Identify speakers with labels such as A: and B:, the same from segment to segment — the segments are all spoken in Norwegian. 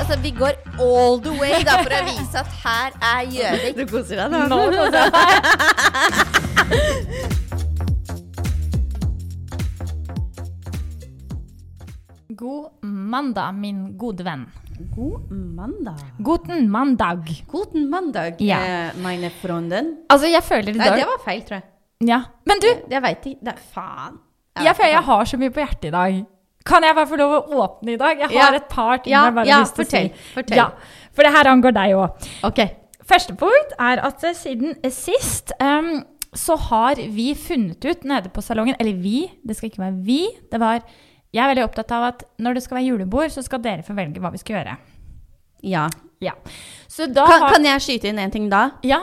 A: Altså, vi går all the way da, for å vise at her er Gjøvik.
B: Du koser deg nå.
C: God mandag, min gode venn.
B: God mandag.
C: Guten mandag.
B: Guten mandag,
C: Ja.
B: eh, meine Freunden.
C: Altså, jeg føler i
B: Nei,
C: dag
B: det var feil, tror jeg.
C: ja. Men du,
B: Jeg veit ikke. Det er faen.
C: jeg føler jeg har så mye på hjertet i dag. Kan jeg bare få lov å åpne i dag? Jeg
B: Ja.
C: har et par ting
B: Ja,
C: jeg bare
B: ja,
C: har lyst til å si.
B: fortell, fortell.
C: Ja, For det her angår deg òg.
B: OK.
C: Første punkt er at eh, siden sist em, så har vi funnet ut nede på salongen Eller vi, det skal ikke være vi. Det var Jeg er veldig opptatt av at når det skal være julebord, så skal dere få velge hva vi skal gjøre.
B: Ja.
C: Ja. Så da
B: Kan,
C: har
B: kan jeg skyte inn en ting da?
C: Ja.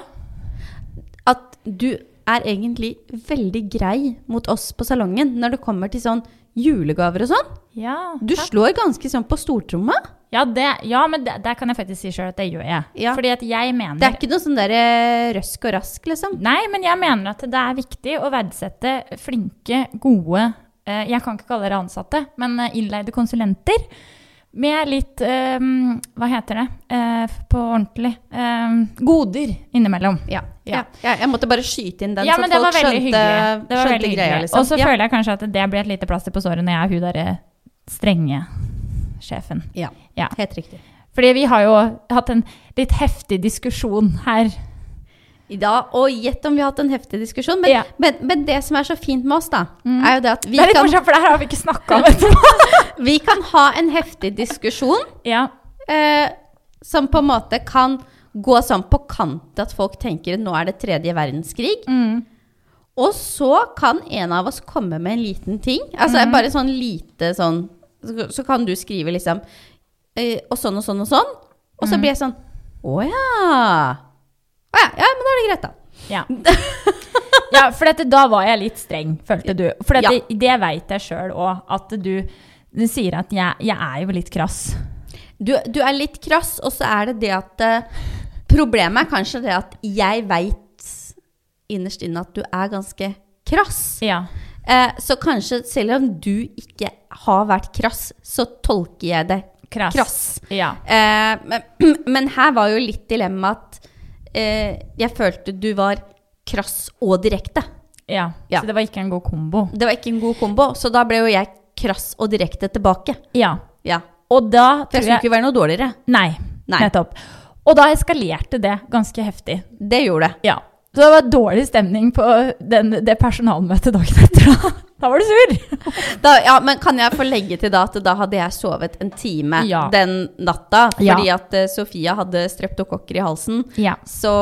B: At du er egentlig veldig grei mot oss på salongen når det kommer til sånn julegaver og sånn.
C: Ja,
B: Du slår ganske sånn på stortromma.
C: ja, det, ja men det, der kan jeg faktisk si sjøl at det gjør jeg.
B: Ja.
C: Fordi at jeg mener
B: Det er ikke noe sånn der eh, røsk og rask, liksom.
C: Nei, men jeg mener at det er viktig å verdsette flinke, gode eh, Jeg kan ikke kalle dere ansatte, men eh, innleide konsulenter. Med litt eh, Hva heter det eh, på ordentlig? Eh, goder innimellom.
B: Ja.
C: Ja.
B: Ja. Jeg måtte bare skyte inn den,
C: ja, men det var veldig hyggelig. Det var
B: skjønte
C: veldig
B: greia,
C: hyggelig.
B: liksom.
C: Og så
B: ja.
C: føler jeg kanskje at det blir et lite plaster på såret når jeg er hun derre strenge sjefen.
B: Ja.
C: Ja.
B: Helt riktig.
C: Fordi vi har jo hatt en litt heftig diskusjon her.
B: Ja, og gjett om vi har hatt en heftig diskusjon. Men,
C: Ja. Mm.
B: men, men det som er så fint med oss, da, er jo det at vi
C: det er litt
B: kan,
C: morsomt, for det her har vi ikke snakka om etterpå.
B: vi kan ha en heftig diskusjon
C: ja.
B: eh, som på en måte kan gå sånn på kant til at folk tenker nå er det tredje verdenskrig.
C: Mm.
B: Og så kan en av oss komme med en liten ting. Altså bare sånn lite sånn Så, så kan du skrive liksom eh, Og sånn og sånn og sånn. Og så blir jeg sånn Å ja. Å ja. Ja, men da er det greit, da.
C: Ja. ja, for dette, da var jeg litt streng, følte du. For dette, det veit jeg sjøl òg, at du, du sier at jeg, jeg er jo litt krass.
B: Du, du er litt krass, og så er det det at eh, Problemet er kanskje det at jeg veit innerst inne at du er ganske krass.
C: Ja.
B: Eh, så kanskje selv om du ikke har vært krass, så tolker jeg det
C: Krass.
B: krass.
C: Ja.
B: Eh, men, men her var jo litt dilemma at eh, jeg følte du var krass og direkte.
C: ja.
B: Ja.
C: Så det var ikke en god kombo.
B: Det var ikke en god kombo, så da ble jo jeg krass og direkte tilbake.
C: Ja.
B: Ja.
C: Og da
B: For jeg
C: tror
B: skulle
C: jeg
B: ikke være noe dårligere.
C: Nei,
B: Nei.
C: nettopp. Og da eskalerte det ganske heftig.
B: Det gjorde det.
C: Ja. Så det var dårlig stemning på den, det personalmøtet dagen etter. Da, da var du sur!
B: Da, ja, men kan jeg få legge til da at da hadde jeg sovet en time
C: Ja.
B: den natta?
C: Ja.
B: Fordi at eh, Sofia hadde streptokokker i halsen.
C: Ja.
B: Så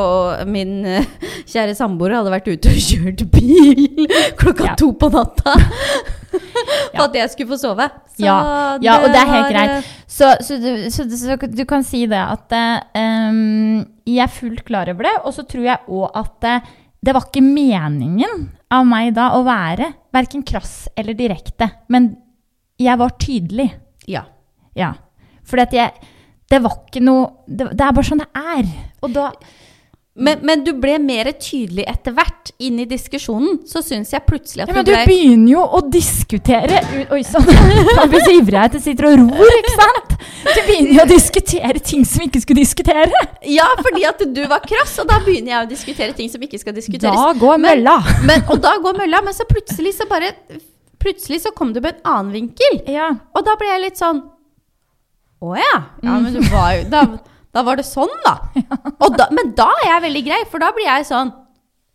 B: min eh, kjære samboer hadde vært ute og kjørt bil klokka
C: Ja.
B: to på natta. For
C: Ja.
B: at jeg skulle få sove. Så
C: Ja, ja, og det er helt
B: var,
C: greit.
B: eh,
C: Så, så, du, så, så du kan si det at eh, em, jeg er fullt klar over det, og så tror jeg òg at eh, det var ikke meningen av meg da å være verken krass eller direkte, men jeg var tydelig.
B: Ja.
C: Ja. Fordi at jeg Det var ikke noe Det, det er bare sånn det er. Og da
B: Men, men du ble mer tydelig etter hvert inn i diskusjonen. Så syns jeg plutselig at
C: Ja, men
B: du
C: du
B: ble
C: begynner jo å diskutere u- Oi sånn. sann, da blir jeg så ivrig at jeg sitter og ror, ikke sant? Du begynner jo å diskutere ting som vi ikke skulle diskutere.
B: Ja, fordi at du var krass, og da begynner jeg å diskutere ting som ikke skal diskuteres.
C: Da går
B: Men-
C: mølla.
B: Men, og da går mølla, men så plutselig så bare Plutselig så kom du med en annen vinkel.
C: Ja.
B: Og da ble jeg litt sånn Å ja. ja men
C: Mm.
B: du var jo, da, da var det sånn, da. Og da. Men da er jeg veldig grei, for da blir jeg sånn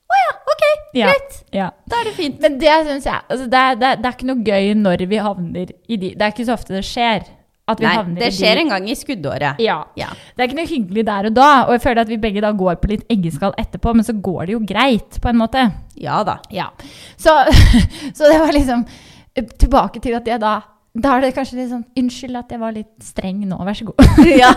B: Å ja, ok,
C: Ja.
B: greit.
C: ja.
B: Da er det fint.
C: Men det syns jeg altså det, er, det, er, det er ikke noe gøy når vi havner i de Det er ikke så ofte det skjer. At vi
B: Nei,
C: havner
B: det
C: i de-
B: skjer en gang i skuddåret.
C: Ja.
B: Ja.
C: Det er ikke noe hyggelig der og da, og jeg føler at vi begge da går på litt eggeskall etterpå, men så går det jo greit, på en måte.
B: Ja da.
C: Ja. Så, så det var liksom eh, Tilbake til at jeg da Da er det kanskje litt sånn Unnskyld at jeg var litt streng nå, vær så god.
B: Ja.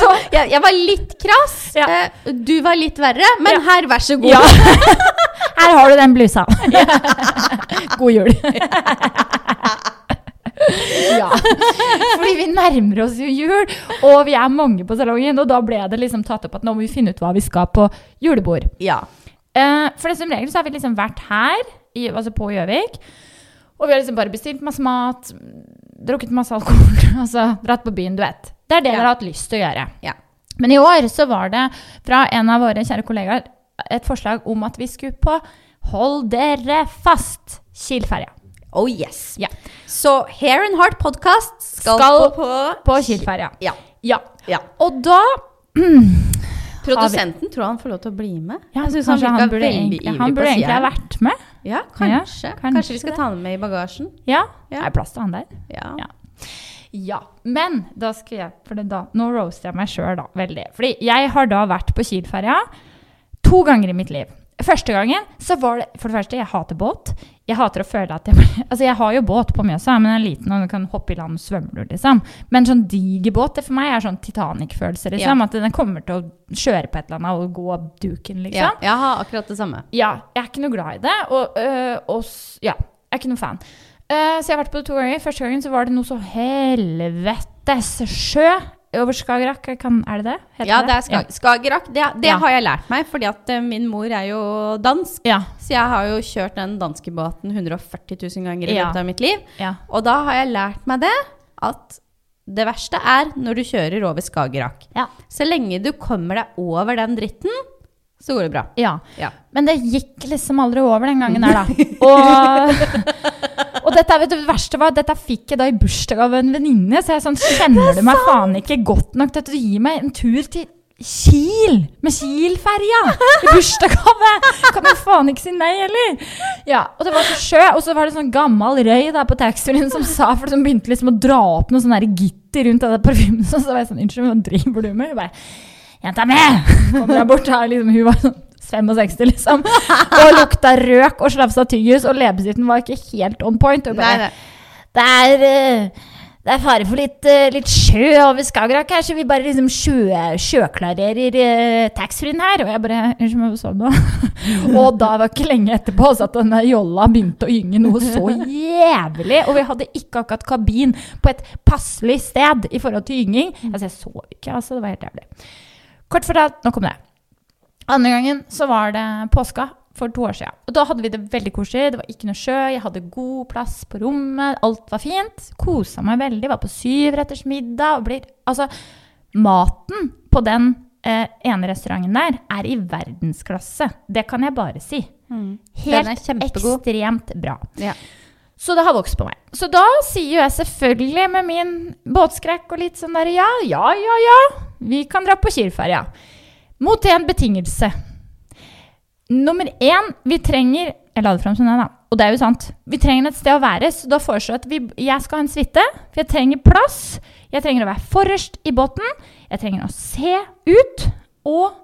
C: Så,
B: Jeg, jeg var litt krass.
C: Ja.
B: eh, Du var litt verre, men
C: Ja.
B: her, vær så god.
C: ja. Her har du den blusa. God jul. Ja. Fordi vi nærmer oss jo jul, og vi er mange på salongen. Og da ble det liksom tatt opp at nå må vi finne ut hva vi skal på julebord.
B: Ja.
C: Eh, for det som regel så har vi liksom vært her, i, altså på Gjøvik. Og vi har liksom bare bestilt masse mat, drukket masse alkohol, altså dratt på byen, du vet. Det er
B: Ja.
C: det dere har hatt lyst til å gjøre.
B: Ja.
C: Men i år så var det fra en av våre kjære kollegaer et forslag om at vi skulle på Hold dere fast! Kielferja.
B: Oh yes.
C: Ja.
B: Så Hair and Heart podcast skal,
C: Skal
B: på, på
C: På Kielferja.
B: Ja.
C: Ja.
B: ja.
C: Og da
B: Produsenten tror han får lov til å bli med.
C: ja,
B: Jeg synes
C: kanskje
B: virka
C: han burde
B: veldig
C: egentlig,
B: ivrig
C: han
B: på å
C: burde
B: si
C: egentlig ha
B: her.
C: vært med.
B: Ja,
C: Ja,
B: kanskje. kanskje.
C: kanskje
B: vi skal
C: det.
B: ta han med i bagasjen.
C: Ja.
B: Ja.
C: Det er plass til han der.
B: Ja.
C: Ja. Ja, men da skal jeg For det da, nå roaster jeg meg sjøl, da. Veldig. Fordi jeg har da vært på Kielferja to ganger i mitt liv. Første gangen så var det For det første, jeg hater båt. Jeg hater å føle at jeg Altså, jeg har jo båt på Mjøsa, men den er liten, og du kan hoppe i land og svømmer du, liksom. Men sånn diger båt, det for meg er sånn Titanic-følelse, liksom. At den kommer til å kjøre på et eller annet og gå av duken, liksom.
B: Ja, jeg har akkurat det samme.
C: Ja, jeg er ikke noe glad i det. Og, øh, og s- ja, jeg er ikke noe fan. Eh, så jeg har vært på det to ganger. Første gangen så var det noe så helvetes sjø over Skagerrak. Jeg Kan, er det det? Heter
B: Ja, det er Skag Skagerrak. Det, det
C: Ja.
B: har jeg lært meg, fordi at eh, min mor er jo dansk.
C: Ja.
B: Så jeg har jo kjørt den danskebåten 140 000 ganger i
C: Ja.
B: løpet av mitt liv.
C: ja.
B: Og da har jeg lært meg det, at det verste er når du kjører over Skagerrak.
C: Ja.
B: Så lenge du kommer deg over den dritten, så går det bra.
C: ja.
B: Ja.
C: Men det gikk liksom aldri over den gangen her, da. Og, og dette, er- vet du, det verste var at dette fikk jeg da i bursdag av en venninne. Så jeg er sånn, kjenner du meg faen ikke godt nok til at du gir meg en tur til Kiel med Kiel-ferja i bursdagsgave! Kan jeg faen ikke si nei heller! Ja, og det var så sjø, og så var det sånn gammel røy da på taxfree-en som sa For som begynte liksom å dra opp noe sånn der gitter rundt av den parfymen. Så så var jeg sånn Unnskyld, hva driver du med? Hun bare Jenta mi! Kommer jeg bort her, liksom. Hun var sånn 65, liksom. Og lukta røk og slafsa tyggis, og leppestiften var ikke helt on point. Og
B: Nei,
C: bare,
B: nei.
C: det er, eh, det er fare for litt, eh, litt sjø over Skagerrak her, så vi bare liksom sjø, sjøklarerer eh, taxfree-en her. Og jeg bare Unnskyld, men hva sa du nå? og da var ikke lenge etterpå så at denne jolla begynte å gynge noe så jævlig. Og vi hadde ikke akkurat kabin på et passelig sted i forhold til gynging. Altså, jeg sov ikke, altså. Det var helt jævlig. Kort fortalt, nå kom det. Andre gangen så var det påska for to år siden. Og da hadde vi det veldig koselig. Det var ikke noe sjø, jeg hadde god plass på rommet, alt var fint. Kosa meg veldig, var på syvretters middag og blir Altså, maten på den eh, ene restauranten der er i verdensklasse. Det kan jeg bare si.
B: Mm. Den er
C: Helt
B: kjempegod.
C: ekstremt bra.
B: Ja.
C: Så det har vokst på meg. Så da sier jo jeg selvfølgelig med min båtskrekk og litt sånn der ja, ja, ja, ja, vi kan dra på Kielferja. Mot en betingelse. Nummer én, vi trenger Jeg la det fram som det, da. Og det er jo sant. Vi trenger et sted å være, så da foreslår jeg at vi, jeg skal ha en suite. For jeg trenger plass. Jeg trenger å være forrest i båten. Jeg trenger å se ut. Og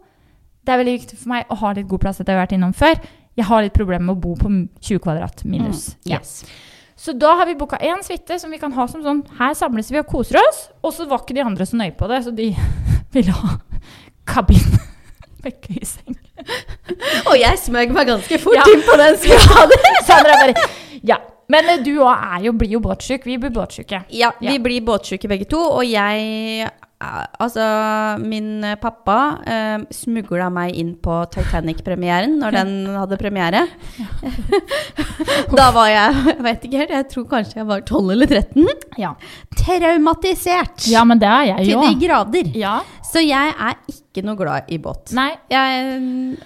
C: det er veldig viktig for meg å ha litt god plass. Dette har jeg vært innom før. Jeg har litt problemer med å bo på 20 kvadrat minus. Ja.
B: Yes.
C: Så da har vi booka én suite som vi kan ha som sånn Her samles vi og koser oss. Og så var ikke de andre så nøye på det, så de ville ha kabin med køyeseng.
B: Og jeg smøg meg ganske fort
C: Ja.
B: inn på den skala.
C: Sandra bare Ja. Men eh, du òg er jo, blir jo båtsjuk. Vi blir båtsjuke.
B: Ja, vi
C: Ja.
B: blir båtsjuke begge to, og jeg eh, Altså, min eh, pappa eh, smugla meg inn på Titanic-premieren når den hadde premiere. da var jeg Jeg vet ikke helt, jeg tror kanskje jeg var 12 eller 13.
C: Ja.
B: Traumatisert!
C: ja, men det er jeg
B: til
C: jo.
B: de grader.
C: Ja.
B: Så jeg er ikke noe glad i båt.
C: Nei.
B: Jeg,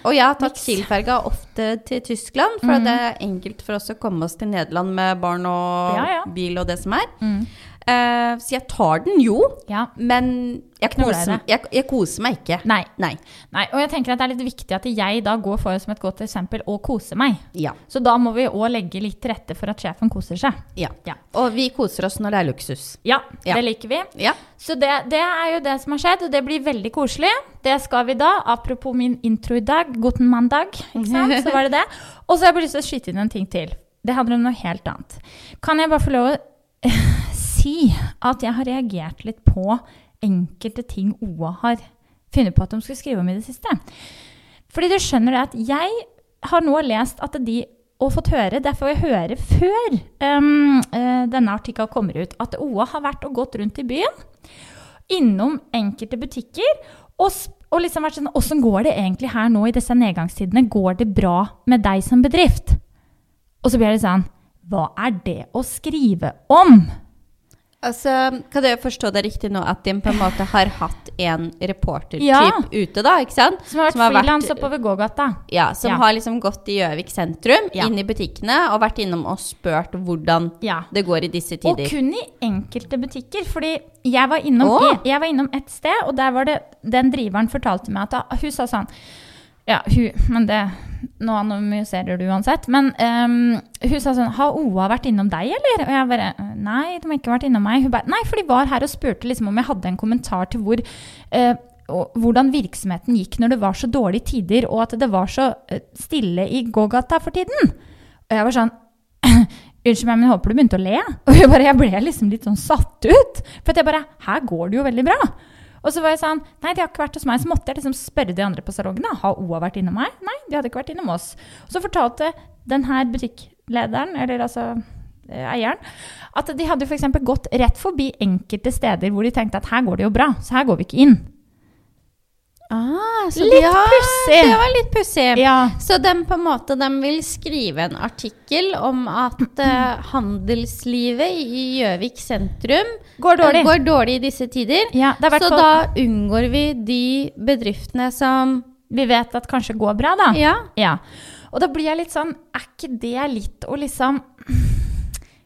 B: og jeg har tatt
C: Niks. Mhm.
B: Kiel-ferga ofte til Tyskland, for det er enkelt for oss å komme oss til Nederland med barn og
C: Ja, ja.
B: bil og det som er.
C: Mm.
B: Eh, så jeg tar den jo,
C: Ja.
B: men jeg
C: Knuller
B: koser,
C: det.
B: jeg, jeg koser meg ikke.
C: Nei.
B: Nei.
C: Nei. Og jeg tenker at det er litt viktig at jeg da går foran som et godt eksempel og koser meg.
B: Ja.
C: Så da må vi òg legge litt til rette for at sjefen koser seg.
B: ja.
C: Ja.
B: Og vi koser oss når det er luksus.
C: Ja,
B: Ja.
C: det liker vi.
B: Ja.
C: Så det, det er jo det som har skjedd, og det blir veldig koselig. Det skal vi da. Apropos min intro i dag, Guten mandag, ikke sant? Så var det det. Og så har jeg bare lyst til å skyte inn en ting til. Det handler om noe helt annet. Kan jeg bare få lov å si at jeg har reagert litt på enkelte ting OA har funnet på at de skulle skrive om i det siste? Fordi du skjønner det at jeg har nå lest at de og fått høre, det får jeg høre før ehm, eh, denne artikkelen kommer ut, at OA har vært og gått rundt i byen, innom enkelte butikker, og, sp- og liksom vært sånn, hvordan går det egentlig her nå i disse nedgangstidene? Går det bra med deg som bedrift? Og så blir det sånn, hva er det å skrive om?
B: Altså, kan jeg forstå det riktig nå at de på en måte har hatt en reportertyp
C: Ja.
B: ute, da? ikke sant?
C: Som har
B: Som har
C: vært
B: vært-
C: frilans oppover gågata.
B: Ja, Som
C: Ja.
B: har liksom gått i Gjøvik sentrum,
C: Ja.
B: inn i butikkene, og vært innom og spurt hvordan
C: Ja.
B: det går i disse
C: Og
B: tider.
C: kun i enkelte butikker. Fordi jeg var innom,
B: Åh.
C: jeg var innom et sted, og der var det Den driveren fortalte meg at da- hun sa sånn Ja, hun Men det Nå anonymiserer du uansett. Men ehm, hun sa sånn Har Oa vært innom deg, eller? Og jeg bare Nei, de har ikke vært innom meg. Hun bare Nei, for de var her og spurte liksom om jeg hadde en kommentar til hvor eh, og hvordan virksomheten gikk når det var så dårlige tider, og at det var så eh, stille i gågata for tiden. Og jeg var sånn Unnskyld meg, men jeg håper du begynte å le. Og jeg, bare, jeg ble liksom litt sånn satt ut. For at jeg bare Her går det jo veldig bra. Og så var jeg sånn Nei, de har ikke vært hos meg. Så måtte jeg liksom spørre de andre på salongen. da, Har OA vært innom meg? Nei, de hadde ikke vært innom oss. Og så fortalte den her butikklederen, eller altså eh, eieren, at de hadde f.eks. gått rett forbi enkelte steder hvor de tenkte at her går det jo bra, så her går vi ikke inn.
B: Ah, så
C: Litt
B: de har-
C: pussig.
B: Det var litt pussig.
C: Ja.
B: Så de, på en måte, de vil skrive en artikkel om at eh, handelslivet i Gjøvik sentrum
C: Går dårlig.
B: går dårlig i disse tider.
C: Ja, det er
B: Så
C: hvert fall
B: da unngår vi de bedriftene som
C: Vi vet at kanskje går bra, da.
B: Ja.
C: Ja. Og da blir jeg litt sånn Er ikke det litt å liksom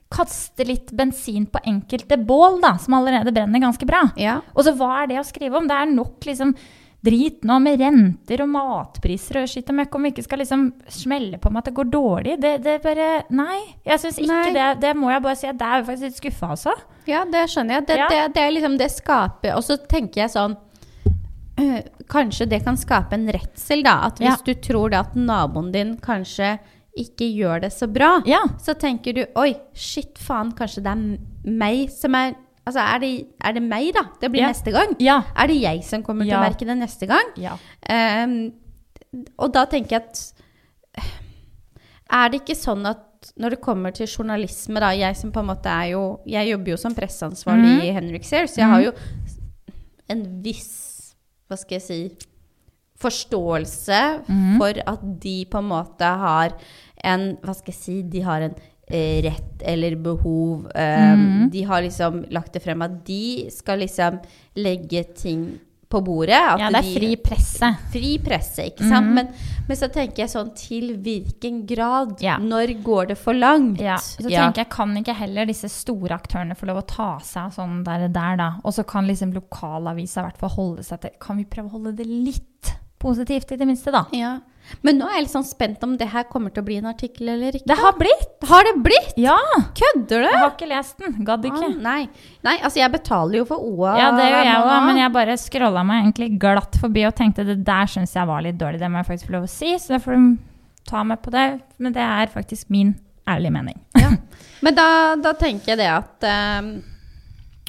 C: kaste litt bensin på enkelte bål, da, som allerede brenner ganske bra?
B: ja.
C: Og så hva er det å skrive om? Det er nok liksom drit nå med renter og matpriser og skitt og møkk, om vi ikke skal liksom smelle på med at det går dårlig. Det, det bare Nei. Jeg syns ikke
B: Nei.
C: det. Det må jeg bare si. at Der er jeg faktisk litt skuffa, altså.
B: Ja, det skjønner jeg. Det,
C: Ja.
B: det, det er liksom det skaper Og så tenker jeg sånn øh, Kanskje det kan skape en redsel, da. At hvis
C: Ja.
B: du tror det at naboen din kanskje ikke gjør det så bra,
C: Ja.
B: så tenker du Oi, shit, faen, kanskje det er m- meg som er Altså, er det, er det meg, da? Det blir
C: Ja.
B: neste gang.
C: Ja.
B: Er det jeg som kommer til å
C: Ja.
B: merke det neste gang?
C: Ja.
B: Ehm, og da tenker jeg at Er det ikke sånn at når det kommer til journalisme, da Jeg som på en måte er jo Jeg jobber jo som presseansvarlig
C: Mhm.
B: i Henrik Sears, så jeg har jo en viss Hva skal jeg si Forståelse
C: Mm.
B: for at de på en måte har en Hva skal jeg si De har en eh, rett eller behov. ehm,
C: Mm.
B: De har liksom lagt det frem at de skal liksom legge ting på bordet. At
C: ja det er
B: de-
C: fri Mm. presse.
B: fri presse, ikke sant? men, men så tenker jeg sånn til hvilken grad?
C: Ja.
B: Når går det for langt?
C: Ja, så tenker jeg kan ikke heller disse store aktørene få lov å ta seg av sånn der, der da. Og så kan liksom lokalavisa i hvert fall holde seg til Kan vi prøve å holde det litt positivt, i det minste, da?
B: Ja. Men nå er jeg litt sånn spent om det her kommer til å bli en artikkel eller ikke.
C: Det har blitt!
B: Har det blitt?
C: Ja!
B: Kødder du?
C: Jeg har ikke lest den. Gadd ikke.
B: Ah, nei. nei, altså jeg betaler jo for OA.
C: Ja, det gjør jeg
B: nå,
C: òg,
B: da.
C: men jeg bare scrolla meg egentlig glatt forbi og tenkte det der syns jeg var litt dårlig, det må jeg faktisk få lov å si, så da får du ta meg på det. Men det er faktisk min ærlige mening.
B: Men da, da tenker jeg det at ehm,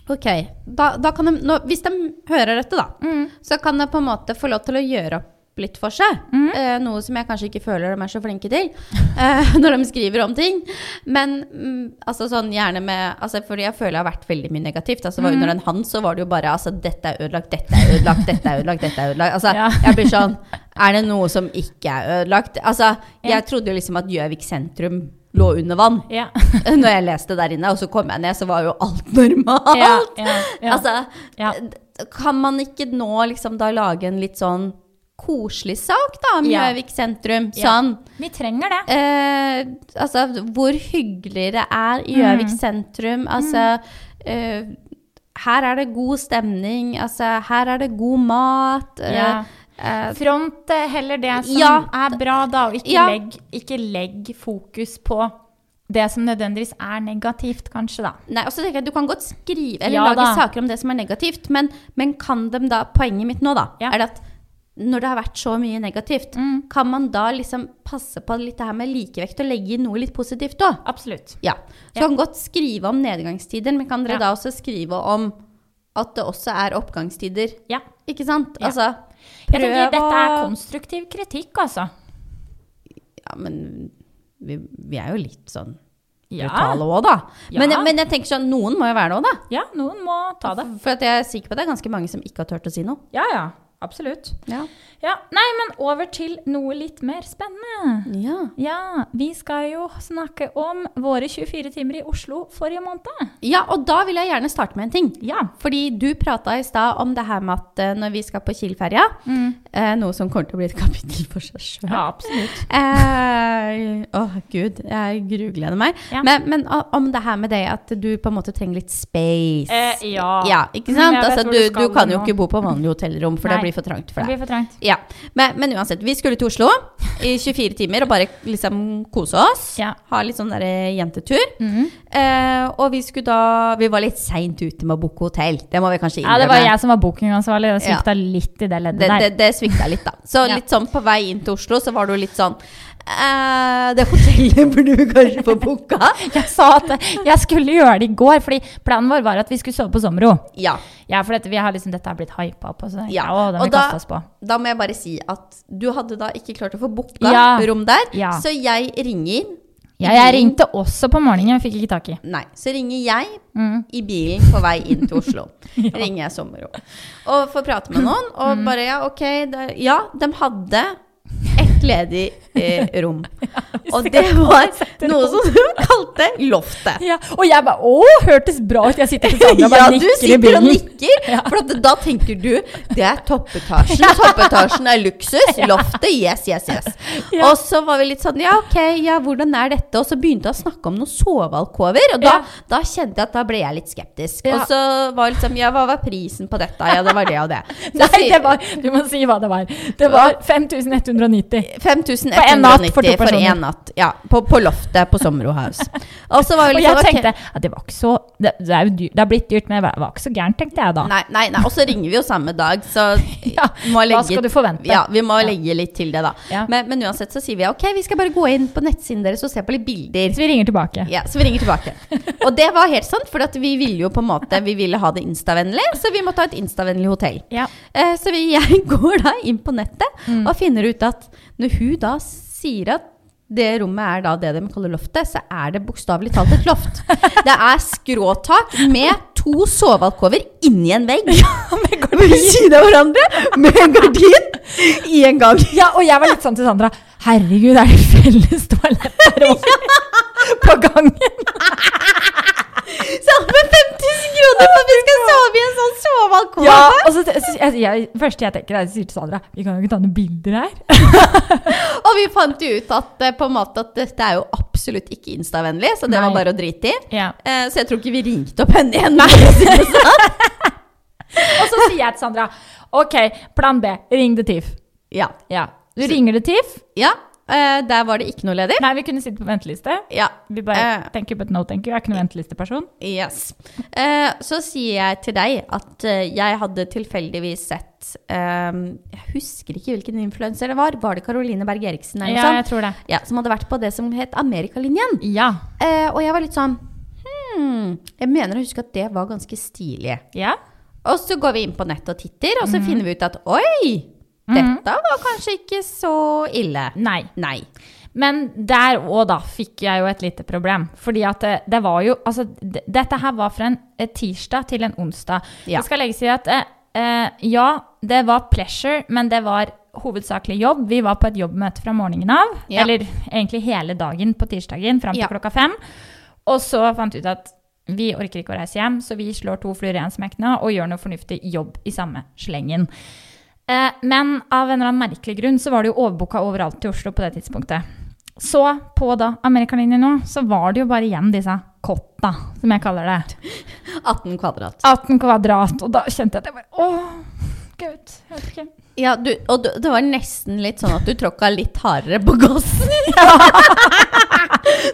B: Ok, da, da kan de, nå, hvis de hører dette, da,
C: Mm.
B: så kan de på en måte få lov til å gjøre opp litt for seg. Eh, noe som jeg kanskje ikke føler de er så flinke til eh, når de skriver om ting. Men mm, altså sånn gjerne med altså, Fordi jeg føler jeg har vært veldig mye negativt. Altså, var Under en han så var det jo bare altså, dette er ødelagt, dette er ødelagt, dette er ødelagt. dette er ødelagt. Altså,
C: Ja.
B: Jeg blir sånn Er det noe som ikke er ødelagt? Altså, jeg trodde jo liksom at Gjøvik sentrum lå under vann
C: Ja.
B: når jeg leste der inne, og så kom jeg ned, så var jo alt normalt.
C: Ja, ja, ja.
B: Altså,
C: Ja.
B: d- kan man ikke nå liksom da lage en litt sånn koselig sak da, om
C: Ja.
B: Gjøvik sentrum?
C: Ja.
B: Sånn,
C: Vi trenger det.
B: eh, altså hvor hyggelig det er i Gjøvik
C: Mm.
B: sentrum, altså... Eh, her er det god stemning, altså, her er det god mat. eh,
C: Ja.
B: eh,
C: Front eh, heller det som
B: Ja.
C: er bra, da, og ikke,
B: Ja.
C: legg, ikke legg fokus på det som nødvendigvis er negativt, kanskje, da.
B: Nei, og så tenker jeg Du kan godt skrive eller
C: Ja
B: lage
C: da.
B: saker om det som er negativt, men, men kan dem da Poenget mitt nå, da,
C: Ja.
B: er det at når det har vært så mye negativt,
C: Mm.
B: kan man da liksom passe på litt det her med likevekt og legge inn noe litt positivt òg?
C: Absolutt.
B: Ja. Så
C: Ja.
B: kan godt skrive om nedgangstider, men kan dere
C: Ja.
B: da også skrive om at det også er oppgangstider?
C: Ja.
B: Ikke sant?
C: Ja.
B: Altså
C: Jeg tenker dette er
B: å-
C: konstruktiv kritikk, altså.
B: Ja, men vi, vi er jo litt sånn
C: Ja.
B: brutale òg, da.
C: Ja.
B: Men, men jeg tenker sånn, noen må jo være det òg, da.
C: ja, noen må ta det.
B: For at jeg er sikker på at det er ganske mange som ikke har turt å si noe.
C: Ja, ja. Absolutt.
B: Ja.
C: Ja, Nei, men over til noe litt mer spennende.
B: ja.
C: Ja, vi skal jo snakke om våre 24 timer i Oslo forrige måned.
B: Ja, og da vil jeg gjerne starte med en ting.
C: Ja.
B: Fordi du prata i stad om det her med at eh, når vi skal på Kiel-ferja,
C: Mm.
B: eh, noe som kommer til å bli et kapittel for seg sjøl
C: Ja, absolutt.
B: Eh, Åh, gud. Jeg grugleder meg.
C: Ja.
B: Men, men o- om det her med det at du på en måte trenger litt space.
C: Eh, ja.
B: Ikke sant?
C: Jeg vet
B: Altså,
C: hvor
B: du,
C: du
B: du
C: skal
B: kan jo
C: nå.
B: ikke bo på vanlig hotellrom, for
C: Nei.
B: det blir for trangt for
C: Det
B: deg.
C: blir for trangt.
B: Ja. Men, men uansett, vi skulle til Oslo i 24 timer og bare liksom kose oss.
C: Ja. Mm.
B: Ha litt sånn der eh, jentetur. Eh, og vi skulle da Vi var litt seint ute med å booke hotell. Det må vi kanskje
C: Ja,
B: innrømme.
C: det var jeg som var bookingansvarlig. Det
B: Ja.
C: svikta litt i det leddet
B: Det,
C: der.
B: det, det svikta litt, da. Så
C: Ja.
B: litt sånn på vei inn til Oslo, så var du litt sånn eh, Det hotellet burde vi kanskje få booka.
C: Jeg sa at jeg skulle gjøre det i går, fordi planen vår var at vi skulle sove på Sommero.
B: Ja.
C: Ja, for dette, vi har liksom, dette har blitt hypa på, så ja,
B: Ja,
C: å, det må
B: og
C: vi
B: da-
C: kaste oss på.
B: Da må jeg bare si at du hadde da ikke klart å få booka
C: Ja.
B: rom der,
C: Ja.
B: så jeg ringer
C: Ja, jeg ringte også på morgenen, men fikk ikke tak i.
B: Nei, så ringer jeg
C: Mm.
B: i bilen på vei inn til Oslo. Ringer jeg sommerro. Og får prate med noen, og bare ja, ok det, Ja, de hadde ett ledig eh, rom. Og det var noe som de kalte loftet.
C: og jeg bare Å, hørtes bra ut! Jeg sitter
B: Ja, du sitter og nikker,
C: Ja.
B: for at da tenker du det er toppetasjen. Toppetasjen er luksus. Loftet, yes, yes, yes.
C: Ja.
B: Og så var vi litt sånn ja, ok, ja, hvordan er dette? Og så begynte jeg å snakke om noen sovealkover, og da,
C: Ja.
B: da kjente jeg at da ble jeg litt skeptisk.
C: Ja.
B: Og så var liksom ja, hva var prisen på dette? Ja, det var det og det. Så jeg
C: Nei,
B: sier-
C: det var, du må si hva det var. Det var 5190.
B: 5190
C: På en natt, for to
B: for
C: personer.
B: en natt. Ja, på, på loftet på Somro House. Og så var
C: Og
B: vi
C: jeg
B: liksom, ok,
C: tenkte at det var ikke så Det, det, er, jo dyr, det har blitt dyrt, men det var ikke så gærent, tenkte jeg da.
B: Nei, nei, nei. Og så ringer vi jo samme dag, så
C: Ja,
B: må
C: hva
B: legge,
C: skal du forvente?
B: Ja, vi må
C: Ja.
B: legge litt til det, da.
C: Ja.
B: Men, men uansett så sier vi ok, vi skal bare gå inn på nettsiden deres og se på litt bilder.
C: Så vi ringer tilbake.
B: Ja, Så vi ringer tilbake. Og det var helt sant, for at vi ville jo på en måte Vi ville ha det instavennlig, så vi måtte ha et instavennlig hotell.
C: Ja.
B: Eh, så vi, jeg går da inn på nettet og finner ut at når hun da sier at det rommet er da det de kaller loftet, så er det bokstavelig talt et loft. Det er skråtak med to sovealkover inni en vegg. Ved siden av hverandre, med en gardin i en gang.
C: Ja, og jeg var litt sånn til Sandra Herregud, er det felles toalett der oppe? På gangen?
B: Sammen med 50 kroner for at vi skal sove i en sånn sovealkove.
C: Ja, og så, så jeg, jeg, første jeg tenker er jeg sier til Sandra Vi kan jo ikke ta noen bilder her
B: Og vi fant jo ut at, eh, på en måte at dette er jo absolutt ikke instavennlig, så det
C: Nei.
B: var bare å drite i.
C: ja.
B: Eh, så jeg tror ikke vi ringte opp henne igjen. for å si det sånn.
C: Og så sier jeg til Sandra Ok, plan B, ring det TIFF
B: ja.
C: ja. Du ringer det TIFF
B: ja. Eh, der var det ikke noe ledig.
C: Nei, vi kunne sitte på venteliste
B: Ja.
C: Vi bare,
B: Eh.
C: thank you but no thank you Jeg er ikke noen ventelisteperson
B: Yes. Eh, så sier jeg til deg at eh, jeg hadde tilfeldigvis sett eh, Jeg husker ikke hvilken influenser det var. Var det Caroline Berg Eriksen eller noe
C: Ja, jeg
B: sånt?
C: tror det
B: Ja, som hadde vært på det som het Amerikalinjen.
C: Ja,
B: Eh, og jeg var litt sånn hmm, Jeg mener å huske at det var ganske stilig.
C: ja
B: Og så går vi inn på nettet og titter, og så finner vi ut at oi, dette var kanskje ikke så ille.
C: Nei
B: Nei.
C: Men der òg, da, fikk jeg jo et lite problem. Fordi at det, det var jo Altså, d- dette her var fra en eh, tirsdag til en onsdag.
B: Ja.
C: Det skal legges i at eh, eh, ja, det var pleasure, men det var hovedsakelig jobb. Vi var på et jobbmøte fra morgenen av.
B: Ja.
C: Eller egentlig hele dagen på tirsdagen fram til
B: Ja.
C: klokka fem. Og så fant vi ut at vi orker ikke å reise hjem, så vi slår to fluer i en smekk nå og gjør noe fornuftig jobb i samme slengen. Eh, Men av en eller annen merkelig grunn så var det jo overbooka overalt i Oslo på det tidspunktet. Så på da Amerikalinjen nå, så var det jo bare igjen disse kotta, som jeg kaller det.
B: 18 kvadrat.
C: 18 kvadrat. Og da kjente jeg at jeg bare Åh, gud. Jeg vet ikke.
B: Ja, du, og du, det var nesten litt sånn at du tråkka litt hardere på gassen.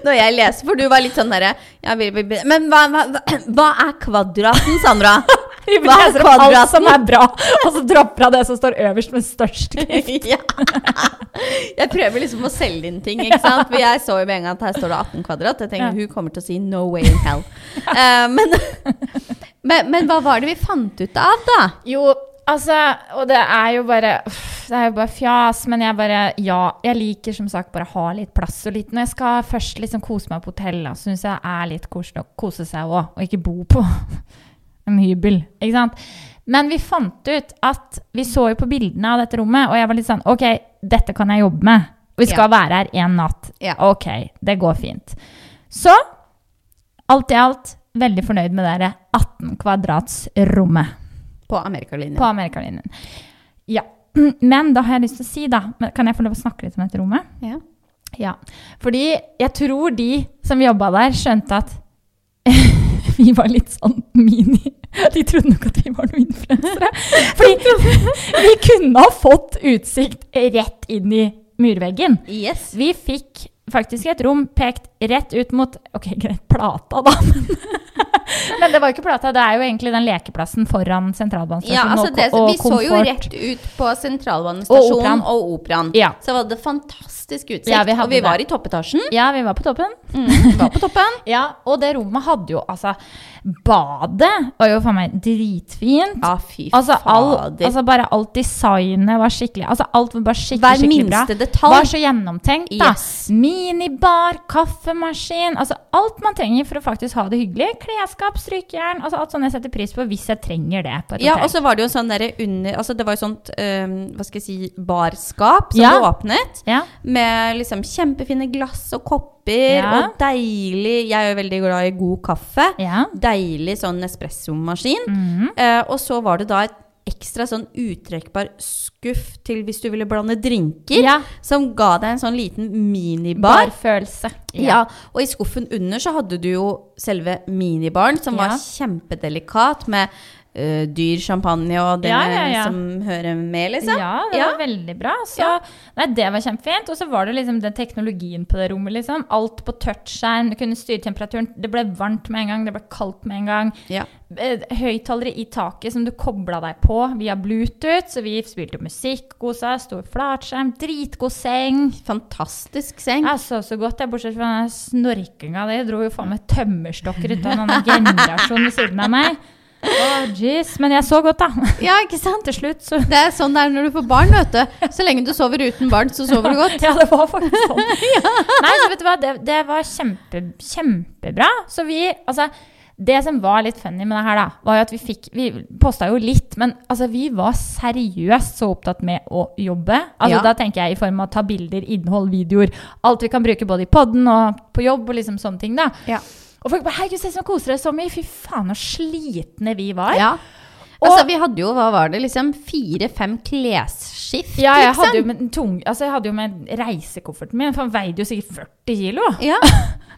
B: Når jeg leser, for du var litt sånn derre ja, vi- vi- vi- Men hva, hva, hva er kvadraten, Sandra?
C: Vi
B: Hva er
C: leser opp alt
B: kvadraten?
C: som er bra, og så dropper jeg det som står øverst med størst skrift.
B: ja. Jeg prøver liksom å selge inn ting, ikke sant? For jeg så jo med en gang at her står det 18 kvadrat. Jeg tenker
C: Ja.
B: hun kommer til å si 'no way in hell'. Eh, men, men, men hva var det vi fant ut av, da?
C: Jo, altså, og det er jo bare uff, Det er jo bare fjas, men jeg bare Ja, jeg liker som sagt bare å ha litt plass og litt Når jeg skal først liksom kose meg på hotell, da, syns jeg det er litt koselig å kose seg òg, og ikke bo på en hybel. Ikke sant? Men vi fant ut at vi så jo på bildene av dette rommet, og jeg var litt sånn Ok, dette kan jeg jobbe med. Vi skal være her én natt.
A: Ja.
C: Ok, det går fint. Så alt i alt veldig fornøyd med det der 18 kvadratsrommet
B: På Amerikalinjen.
C: på Amerikalinjen. Ja. Men da har jeg lyst til å si, da men Kan jeg få lov å snakke litt om dette rommet?
B: Ja.
C: Ja, fordi jeg tror de som jobba der, skjønte at vi var litt sånn mini. De trodde nok at vi var noen influensere. Fordi vi kunne ha fått utsikt rett inn i murveggen.
B: Yes.
C: Vi fikk faktisk et rom pekt rett ut mot Ok, greit, plata, da. Men, men det var jo ikke plata, det er jo egentlig den lekeplassen foran sentralbanestasjonen.
B: Ja, altså
C: og-
B: det,
C: og
B: vi så jo
C: komfort.
B: rett ut på
C: Og operaen.
B: sentralbanestasjonen og operaen.
C: Ja.
B: Så var det fantastisk utsikt.
C: Ja, vi hadde
B: og vi
C: det.
B: var i toppetasjen.
C: Ja, vi var på toppen.
B: Mm, var på toppen.
C: Ja, og det rommet hadde jo altså Badet var jo faen meg dritfint.
B: Ja, fy
C: Altså, all,
B: fader.
C: altså bare alt designet var skikkelig altså Alt var bare skikkelig,
B: Hver
C: skikkelig bra.
B: minste detalj.
C: Var så gjennomtenkt, da.
B: Yes.
C: Minibar, kaffemaskin Altså alt man trenger for å faktisk ha det hyggelig. Klesskap, strykejern altså Alt sånn jeg setter pris på hvis jeg trenger det. på et
B: ja,
C: hotell.
B: og så var det jo sånn derre under Altså, det var jo sånt øhm, hva skal jeg si, barskap som
C: Ja.
B: ble åpnet.
C: ja.
B: Med liksom kjempefine glass og kopper
C: Ja.
B: og deilig Jeg er jo veldig glad i god kaffe.
C: Ja.
B: Deilig sånn espressomaskin.
C: Mhm.
B: Eh, og så var det da et ekstra sånn uttrekkbar skuff til hvis du ville blande drinker.
C: Ja.
B: Som ga deg en sånn liten minibar.
C: Barfølelse.
B: Ja, og i skuffen under så hadde du jo selve minibaren, som
C: Ja.
B: var kjempedelikat med ø, dyr champagne og det
C: Ja, ja, ja.
B: som hører med, liksom.
C: Ja, det var veldig bra. Så,
B: Ja.
C: Nei, det var kjempefint. Og så var det liksom den teknologien på det rommet. Liksom. Alt på touchskjerm, du kunne styre temperaturen. Det ble varmt med en gang, det ble kaldt med en gang.
B: Ja.
C: Eh, Høyttalere i taket som du kobla deg på via Bluetooth. Så vi spilte musikk, kosa, stor flatskjerm, dritgod seng.
B: Fantastisk seng.
C: Jeg sov så godt, jeg, bortsett fra den snorkinga di. Dro jo faen meg tømmerstokker ut av en annen generasjon ved siden av meg. Å, jeez. Men jeg så godt, da.
B: Ja, ikke sant?
C: Til slutt så
B: Det er sånn det er når du får barn, vet du. Så lenge du sover uten barn, så sover du godt.
C: Ja, det var faktisk sånn. Nei, så vet du hva, det, det var kjempe, kjempebra. Så vi, altså, det som var litt funny med det her, da, var jo at vi fikk Vi posta jo litt, men altså, vi var seriøst så opptatt med å jobbe. Altså,
B: Ja.
C: Da tenker jeg i form av å ta bilder, innhold, videoer. Alt vi kan bruke både i podden og på jobb og liksom sånne ting, da.
B: Ja.
C: Og folk bare 'Herregud, se som koser dere så mye'. Fy faen, så slitne vi var.
B: Ja. Altså, vi hadde jo, hva var det, liksom fire-fem klesskift,
C: Ja, jeg
B: liksom.
C: hadde jo med, tung, altså, jeg hadde jo med reisekofferten min, for han veide jo sikkert 40 kilo
B: Ja,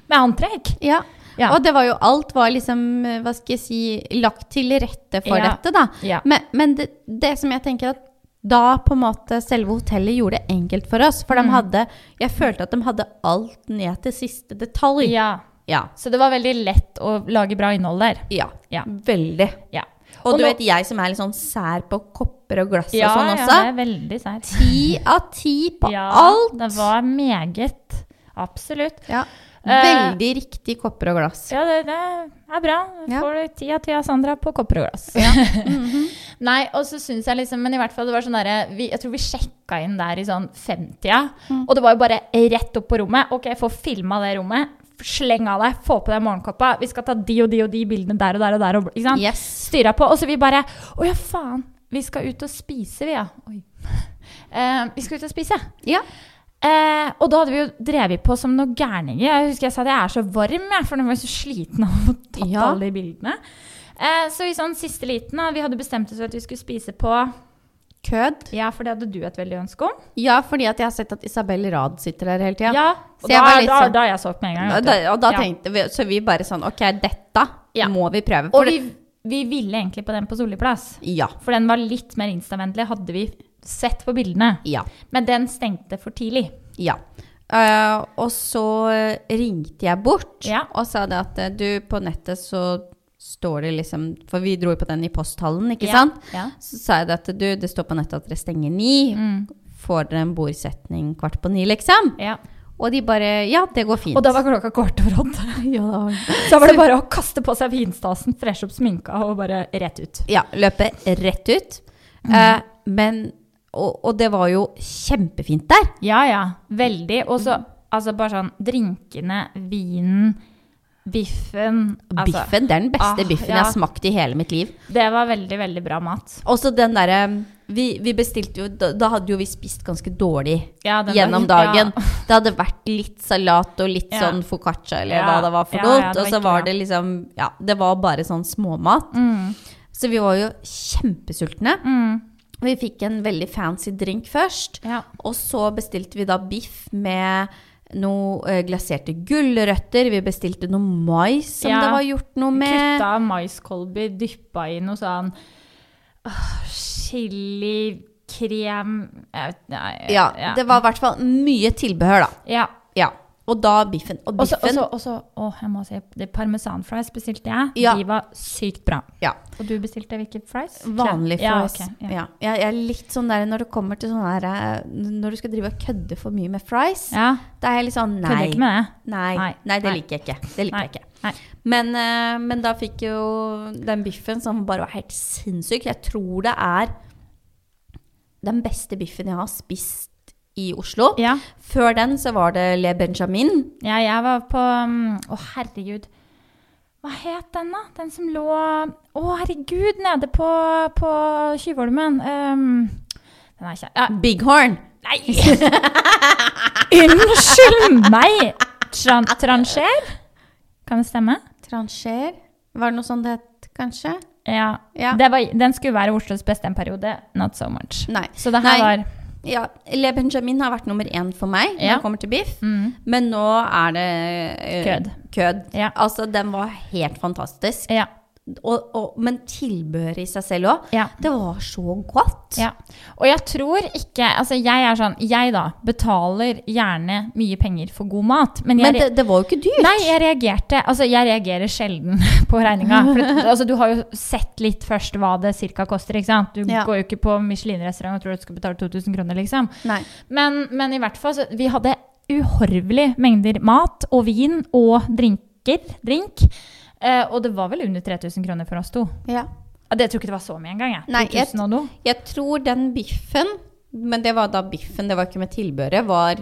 C: med antrekk.
B: ja.
C: Ja.
B: Og det var jo alt var liksom, hva skal jeg si, lagt til rette for
C: Ja.
B: dette, da.
C: Ja.
B: Men, men det, det som jeg tenker at da på en måte selve hotellet gjorde det enkelt for oss, for
C: Mm.
B: de hadde, jeg følte at de hadde alt ned til siste detalj.
C: ja.
B: Ja.
C: Så det var veldig lett å lage bra innhold der.
B: Ja,
C: Ja.
B: veldig.
C: Ja.
B: Og, du
C: nå-
B: vet, jeg som er litt sånn sær på kopper og glass
C: ja,
B: og sånn
C: Ja, det
B: også.
C: er veldig sært.
B: Ti av ti på
C: Ja,
B: alt.
C: det var meget. Absolutt.
B: Ja.
C: Eh,
B: Veldig riktig kopper og glass.
C: Ja, det, det er bra.
B: Ja.
C: Får du ti av ti av Sandra på kopper og glass. Mhm. Nei, og så syns jeg liksom Men i hvert fall, det var sånn derre vi- Jeg tror vi sjekka inn der i sånn 50-a, og det var jo bare rett opp på rommet. OK, få filma det rommet. Sleng av deg, få på deg morgenkåpa. Vi skal ta de og de og de bildene der og der og der. Og, ikke sant?
B: Yes.
C: styra på. Og så vi bare Å ja, faen. Vi skal ut og spise, vi, ja. Oi. Eh, vi skal ut og spise.
B: Ja.
C: Eh, og da hadde vi jo drevet på som noen gærninger. Jeg husker jeg sa at jeg er så varm, jeg, for nå var jeg så sliten av å ha tatt
B: Ja.
C: alle de bildene. Eh, så i sånn siste liten, da, vi hadde bestemt oss for at vi skulle spise på
B: Kødd.
C: Ja, for det hadde du et veldig ønske om.
B: Ja, fordi at jeg har sett at Isabel Rad sitter der hele tida.
C: og
B: Så jeg
C: da,
B: var
C: er-
B: litt
C: da,
B: sånn-
C: da har jeg solgt med en gang.
B: Og
C: vet du.
B: da, og da
C: Ja.
B: tenkte vi, så vi bare sånn, ok, dette
C: Ja.
B: må vi prøve.
C: Og
B: For
C: vi, vi ville egentlig på den på Solli plass.
B: det, ja,
C: For den var litt mer instavennlig, hadde vi sett på bildene.
B: ja,
C: Men den stengte for tidlig.
B: ja. Eh, og så ringte jeg bort
C: Ja.
B: og sa det at eh, du, på nettet så står det liksom, for vi dro jo på den i posthallen, ikke
C: Ja,
B: sant?
C: Ja.
B: Så sa jeg det at du, det står på nettet at dere stenger ni,
C: Mm.
B: får dere en bordsetning kvart på ni, liksom?
C: Ja.
B: Og de bare, ja, det går fint.
C: Og da var klokka kvart over åtte.
B: ja, da var
C: Da var det bare å kaste på seg vinstasen, freshe opp sminka og bare rett ut.
B: Ja, løpe rett ut.
C: Mm.
B: Eh, men, og, og det var jo kjempefint der.
C: Ja, ja. Veldig. Og så altså bare sånn drinkene, vinen Biffen. Altså,
B: biffen, Det er den beste
C: Ah,
B: biffen
C: ja.
B: jeg har smakt i hele mitt liv.
C: Det var veldig, veldig bra mat.
B: Også den derre vi, vi bestilte jo da, da hadde jo vi spist ganske dårlig
C: Ja, den
B: gjennom
C: var-
B: dagen.
C: Ja.
B: Det hadde vært litt salat og litt
C: Ja.
B: sånn foccaccia eller
C: Ja.
B: hva det var for
C: Ja,
B: noe.
C: ja, det var
B: og så
C: ikke
B: var
C: bra.
B: det liksom Ja, det var bare sånn småmat.
C: Mm,
B: Så vi var jo kjempesultne.
C: mm,
B: Vi fikk en veldig fancy drink først.
C: ja.
B: Og så bestilte vi da biff med noe eh, glaserte gulrøtter. Vi bestilte noe mais som
C: Ja.
B: det var gjort noe med.
C: Kutta maiskolber, dyppa i noe sånn åh, chili, krem jeg vet, nei,
B: Ja, det var i hvert fall mye tilbehør, da.
C: ja.
B: Ja. Og da biffen. Og
C: Og så- og
B: biffen
C: så- og så Å, jeg må si det parmesan fries bestilte jeg.
B: Ja.
C: De var sykt bra.
B: Ja.
C: Og du bestilte hvilke fries?
B: Vanlig
C: Ja,
B: fries. Ja,
C: ok, ja.
B: Jeg, jeg er litt sånn der når det kommer til sånn her eh, Når du skal drive og kødde for mye med fries,
C: ja.
B: da er jeg litt sånn
C: Kødder
B: nei.
C: ikke med det.
B: Nei, nei,
C: Nei,
B: det
C: nei.
B: liker jeg ikke. Det liker
C: Nei,
B: jeg ikke.
C: nei.
B: Men, eh, men da fikk jo den biffen som bare var helt sinnssyk. Jeg tror det er den beste biffen jeg har spist i Oslo.
C: Ja.
B: Før den så var det Le Benjamin.
C: ja, jeg var på mm, Å, herregud. Hva het den, da? Den som lå Å, herregud, nede på, på Tjuvholmen. Ehm, den er ikke ja,
B: Bighorn.
C: Nei! Unnskyld meg! Tran Trancher? Kan det stemme?
B: Trancher. Var det noe sånt det het, kanskje?
C: Ja.
B: Ja.
C: Det var, den skulle være Oslos beste en periode. Not so much.
B: Nei.
C: Så det her
B: Mm. Nei.
C: var
B: Ja, Le Benjamin har vært nummer én for meg når
C: Ja.
B: det kommer til biff.
C: mm,
B: Men nå er det eh,
C: kødd.
B: kødd.
C: Ja.
B: Altså, den var helt fantastisk.
C: Ja.
B: Og, og, men tilbehøret i seg selv òg.
C: ja.
B: Det var så godt.
C: Ja. Og jeg tror ikke Altså, jeg er sånn Jeg, da, betaler gjerne mye penger for god mat, men jeg
B: Men det, det var jo ikke dyrt.
C: Nei, jeg reagerte Altså, jeg reagerer sjelden på regninga. For at- altså, du har jo sett litt først hva det cirka koster, ikke sant? Du
B: Ja.
C: går jo ikke på Michelin-restaurant og tror du skal betale 2000 kroner, liksom.
B: Nei.
C: Men, men i hvert fall, så vi hadde uhorvelige mengder mat og vin og drinker. Drink. Eh, og det var vel under 3000 kroner for oss to.
B: Ja.
C: Ja, Det tror jeg ikke det var så mye engang. jeg.
B: Nei, jeg-
C: 2000 og noe.
B: Jeg tror den biffen, men det var da biffen, det var ikke med tilbehøret, var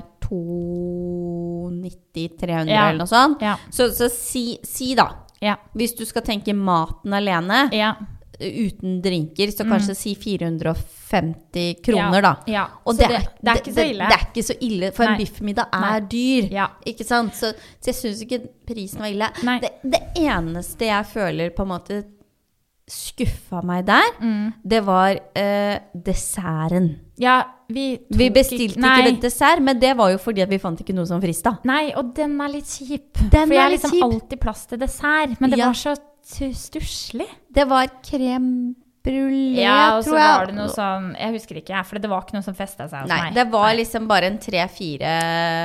B: 290-300
C: Ja.
B: eller noe sånt.
C: Ja.
B: Så, så si, si da,
C: Ja.
B: hvis du skal tenke maten alene
C: ja.
B: uten drinker, så kanskje si 450 kroner da.
C: Mm. Ja. ja.
B: Og
C: Så
B: det,
C: det, det er ikke så ille.
B: Det, det er ikke så ille, for
C: Nei.
B: en biffmiddag
C: Nei.
B: er dyr.
C: Ja.
B: Ikke sant? Så, så jeg syns ikke prisen var ille.
C: Nei.
B: Det, det eneste jeg føler på en måte skuffa meg der,
C: Mm.
B: det var eh, desserten.
C: ja, vi tok
B: Vi bestilte
C: nei.
B: ikke dessert, men det var jo fordi at vi fant ikke noe som frista.
C: Nei, og den er litt kjip.
B: Den
C: For jeg
B: er
C: har
B: litt
C: liksom
B: kjip.
C: alltid plass til dessert, men det
B: Ja.
C: var så tu- stusslig.
B: Det var crème brulé,
C: Ja, og så
B: tror jeg.
C: var det noe sånn Jeg husker ikke, jeg, for det var ikke noe som festa seg hos
B: Nei,
C: meg.
B: det var liksom bare en tre-fire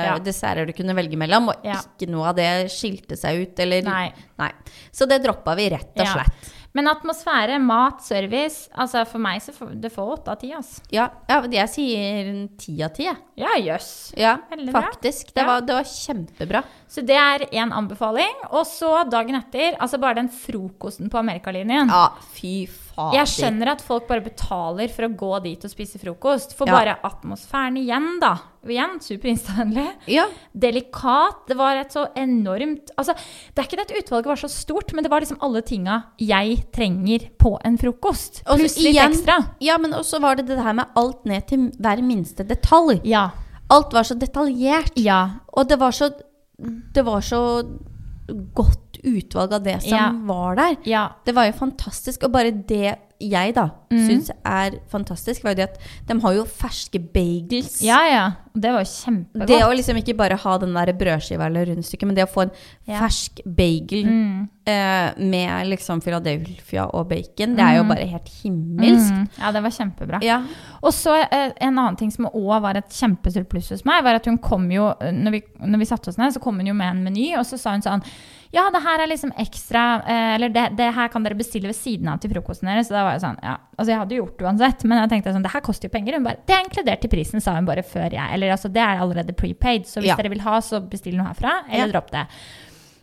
C: Ja.
B: desserter du kunne velge mellom, og
C: Ja.
B: ikke noe av det skilte seg ut, eller
C: Nei.
B: Nei. Så det droppa vi rett og
C: Ja.
B: slett.
C: Men atmosfære, mat, service Altså for meg så får det får åtte av ti, altså.
B: Ja, ja jeg sier en ti av ti, jeg.
C: Ja, jøss.
B: Ja,
C: Veldig bra.
B: faktisk. Det,
C: Ja.
B: var, det var kjempebra.
C: Så det er én anbefaling. Og så dagen etter, altså bare den frokosten på Amerikalinjen.
B: Ja, fy fader.
C: Jeg skjønner at folk bare betaler for å gå dit og spise frokost. For
B: Ja.
C: bare atmosfæren igjen, da. Igjen superinstavennlig.
B: Ja,
C: delikat. Det var et så enormt altså, Det er ikke det at utvalget var så stort, men det var liksom alle tinga jeg trenger på en frokost.
B: Og så
C: Pluss litt
B: igjen-
C: ekstra.
B: ja men også var det det her med alt ned til hver minste detalj.
C: Ja.
B: Alt var så detaljert.
C: Ja.
B: Og det var så, det var så godt utvalg av det som
C: Ja.
B: var der.
C: Ja.
B: Det var jo fantastisk, og bare det jeg da
C: Mm.
B: syns er fantastisk, var jo det at de har jo ferske bagels.
C: Ja, ja. Det var jo kjempegodt.
B: Det å liksom ikke bare ha den der brødskiva eller rundstykket, men det å få en
C: Ja.
B: fersk bagel
C: Mm.
B: eh, med liksom Philadelphia og bacon, det er jo bare helt himmelsk.
C: Mm. Ja, det var kjempebra.
B: Ja.
C: Og så eh, en annen ting som òg var et kjempesurpluss hos meg, var at hun kom jo eh, Når vi, når vi satte oss ned, så kom hun jo med en meny, og så sa hun sånn Ja, det her er liksom ekstra eh, Eller det, det her kan dere bestille ved siden av til frokosten deres. Så da var jeg sånn Ja, altså jeg hadde jo gjort det uansett, men jeg tenkte sånn Det her koster jo penger. Hun bare Det er inkludert i prisen, sa hun bare før jeg Eller altså, det er allerede prepaid, så hvis
B: Ja.
C: dere vil ha, så bestill noe herfra,
B: Ja.
C: eller dropp det.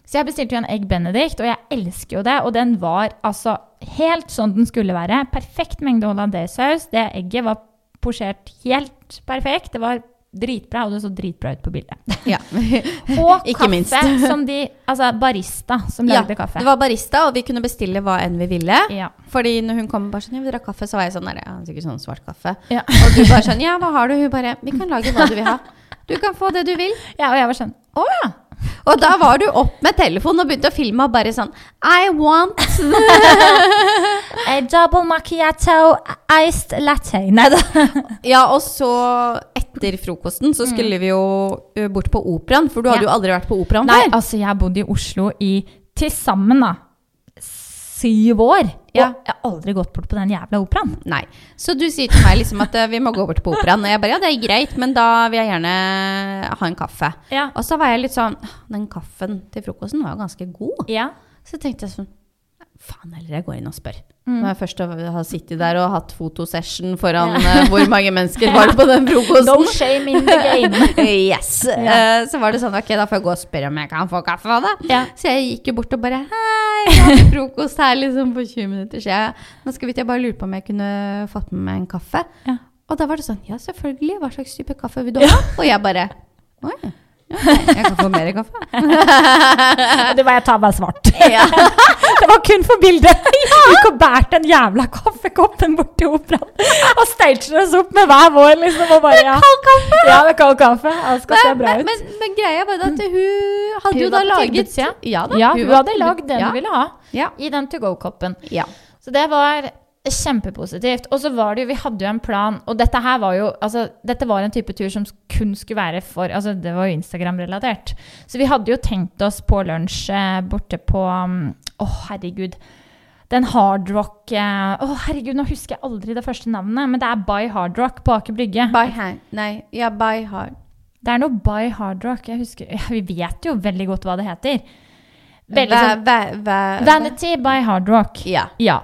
C: Så jeg bestilte jo en egg benedict, og jeg elsker jo det. Og den var altså helt sånn den skulle være. Perfekt mengde hollandaisesaus. Det egget var posjert helt perfekt. Det var dritbra, og det så dritbra ut på bildet.
B: Ja.
C: Og
B: Ikke
C: kaffe,
B: minst.
C: som de Altså barista som
B: ja.
C: lagde kaffe.
B: Det var barista, og vi kunne bestille hva enn vi ville.
C: Ja.
B: Fordi når hun kom bare sånn, «Ja, vi drakk kaffe, så var jeg sånn, der, ja, sikkert sånn svart kaffe.
C: Ja.
B: Og du bare sånn, ja, hva har du? Hun bare, vi kan lage hva du vil ha. Du kan få det du vil.
C: ja, og jeg var sånn Å ja!
B: Og da var du opp med telefonen og begynte å filme og bare sånn, I want
C: A double macchiato iced latte. Nei da.
B: Ja, og så etter frokosten så skulle vi jo ø, bort på operaen, for du hadde
C: Ja.
B: jo aldri vært på operaen
C: Nei,
B: før.
C: altså jeg har bodd i Oslo i til sammen da syv år.
B: Ja.
C: Og jeg har aldri gått bort på den jævla operaen.
B: Nei. Så du sier til meg liksom at ø, vi må gå bort på operaen, og jeg bare ja, det er greit, men da vil jeg gjerne ha en kaffe.
C: Ja.
B: Og så var jeg litt sånn «Åh, Den kaffen til frokosten var jo ganske god.
C: Ja.
B: Så tenkte jeg sånn Faen heller, jeg går inn og spør.
C: Mm.
B: Når jeg først har sittet der og hatt fotosession foran ø, hvor mange mennesker var det på den frokosten.
C: No shame in the game.
B: yes. Eh, så var det sånn, ok, da får jeg gå og spørre om jeg kan få kaffe av det.
C: Ja.
B: Så jeg gikk jo bort og bare, hei, jeg hadde frokost her liksom for 20 minutter siden. Nå skal vi til, jeg bare lure på om jeg kunne fått med meg en kaffe.
C: Ja.
B: Og da var det sånn, ja, selvfølgelig, hva slags type kaffe vil du ha? Og jeg bare, oi, ja, jeg kan få mer kaffe.
C: Det var jeg tar meg svart.
B: Ja.
C: Det var kun for bildet. Vi gikk og bært den jævla kaffekoppen bort til operaen. Og staged oss opp med hver vår, liksom. Og bare, ja.
B: Kald kaffe!
C: Ja, med kald kaffe. Det skal se
B: Nei,
C: bra
B: men,
C: ut.
B: men, men greia var da at hun hadde
C: Hun
B: jo da
C: var på
B: laget
C: tilbudssida.
B: Ja, da,
C: Ja, hun
B: var
C: hadde
B: på
C: lagd den
B: ja.
C: hun ville ha
B: Ja.
C: i den to go-koppen.
B: Ja.
C: Så det var kjempepositivt. Og så var det jo, vi hadde jo en plan, og dette her var jo altså, Dette var en type tur som kun skulle være for Altså, det var jo Instagram-relatert. Så vi hadde jo tenkt oss på lunsj eh, borte på um, Å, herregud. Den hardrock eh, Å, herregud, nå husker jeg aldri det første navnet, men det er By Hardrock på Aker Brygge.
B: By hand. Nei, ja, by heart.
C: Det er noe By Hardrock. Jeg husker ja, Vi vet jo veldig godt hva det heter. Veldig
B: Væ-
C: sånn
B: væ- væ-
C: Vanity by Hardrock.
B: Ja.
C: Ja.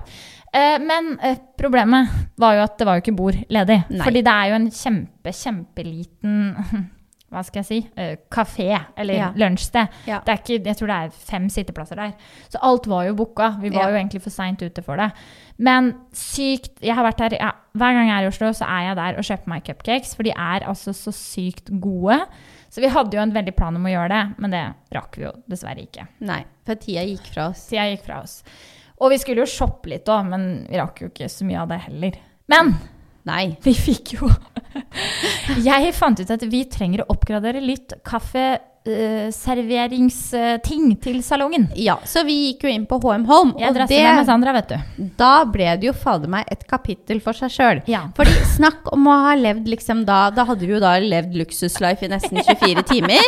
C: Eh, men eh, problemet var jo at det var jo ikke bord ledig.
B: Nei.
C: Fordi det er jo en kjempe, kjempeliten hva skal jeg si, eh, kafé eller
B: Ja.
C: lunsjsted.
B: Ja.
C: Det er ikke, jeg tror det er fem sitteplasser der. Så alt var jo booka. Vi
B: Ja.
C: var jo egentlig for seint ute for det. Men sykt jeg har vært her, ja, Hver gang jeg er i Oslo, så er jeg der og kjøper meg cupcakes. For de er altså så sykt gode. Så vi hadde jo en veldig plan om å gjøre det, men det rakk vi jo dessverre ikke.
B: Nei, for tida gikk fra oss.
C: Så jeg gikk fra oss. Og vi skulle jo shoppe litt òg, men vi rakk jo ikke så mye av det heller. Men
B: Nei.
C: vi fikk jo Jeg fant ut at vi trenger å oppgradere litt kaffeserveringsting til salongen.
B: Ja, så vi gikk jo inn på HM Holm,
C: Jeg
B: og
C: drasser meg med
B: det,
C: Sandra, vet du.
B: da ble det jo fader meg et kapittel for seg sjøl.
C: Ja.
B: Fordi snakk om å ha levd liksom da Da hadde vi jo da levd luksuslife i nesten 24 timer.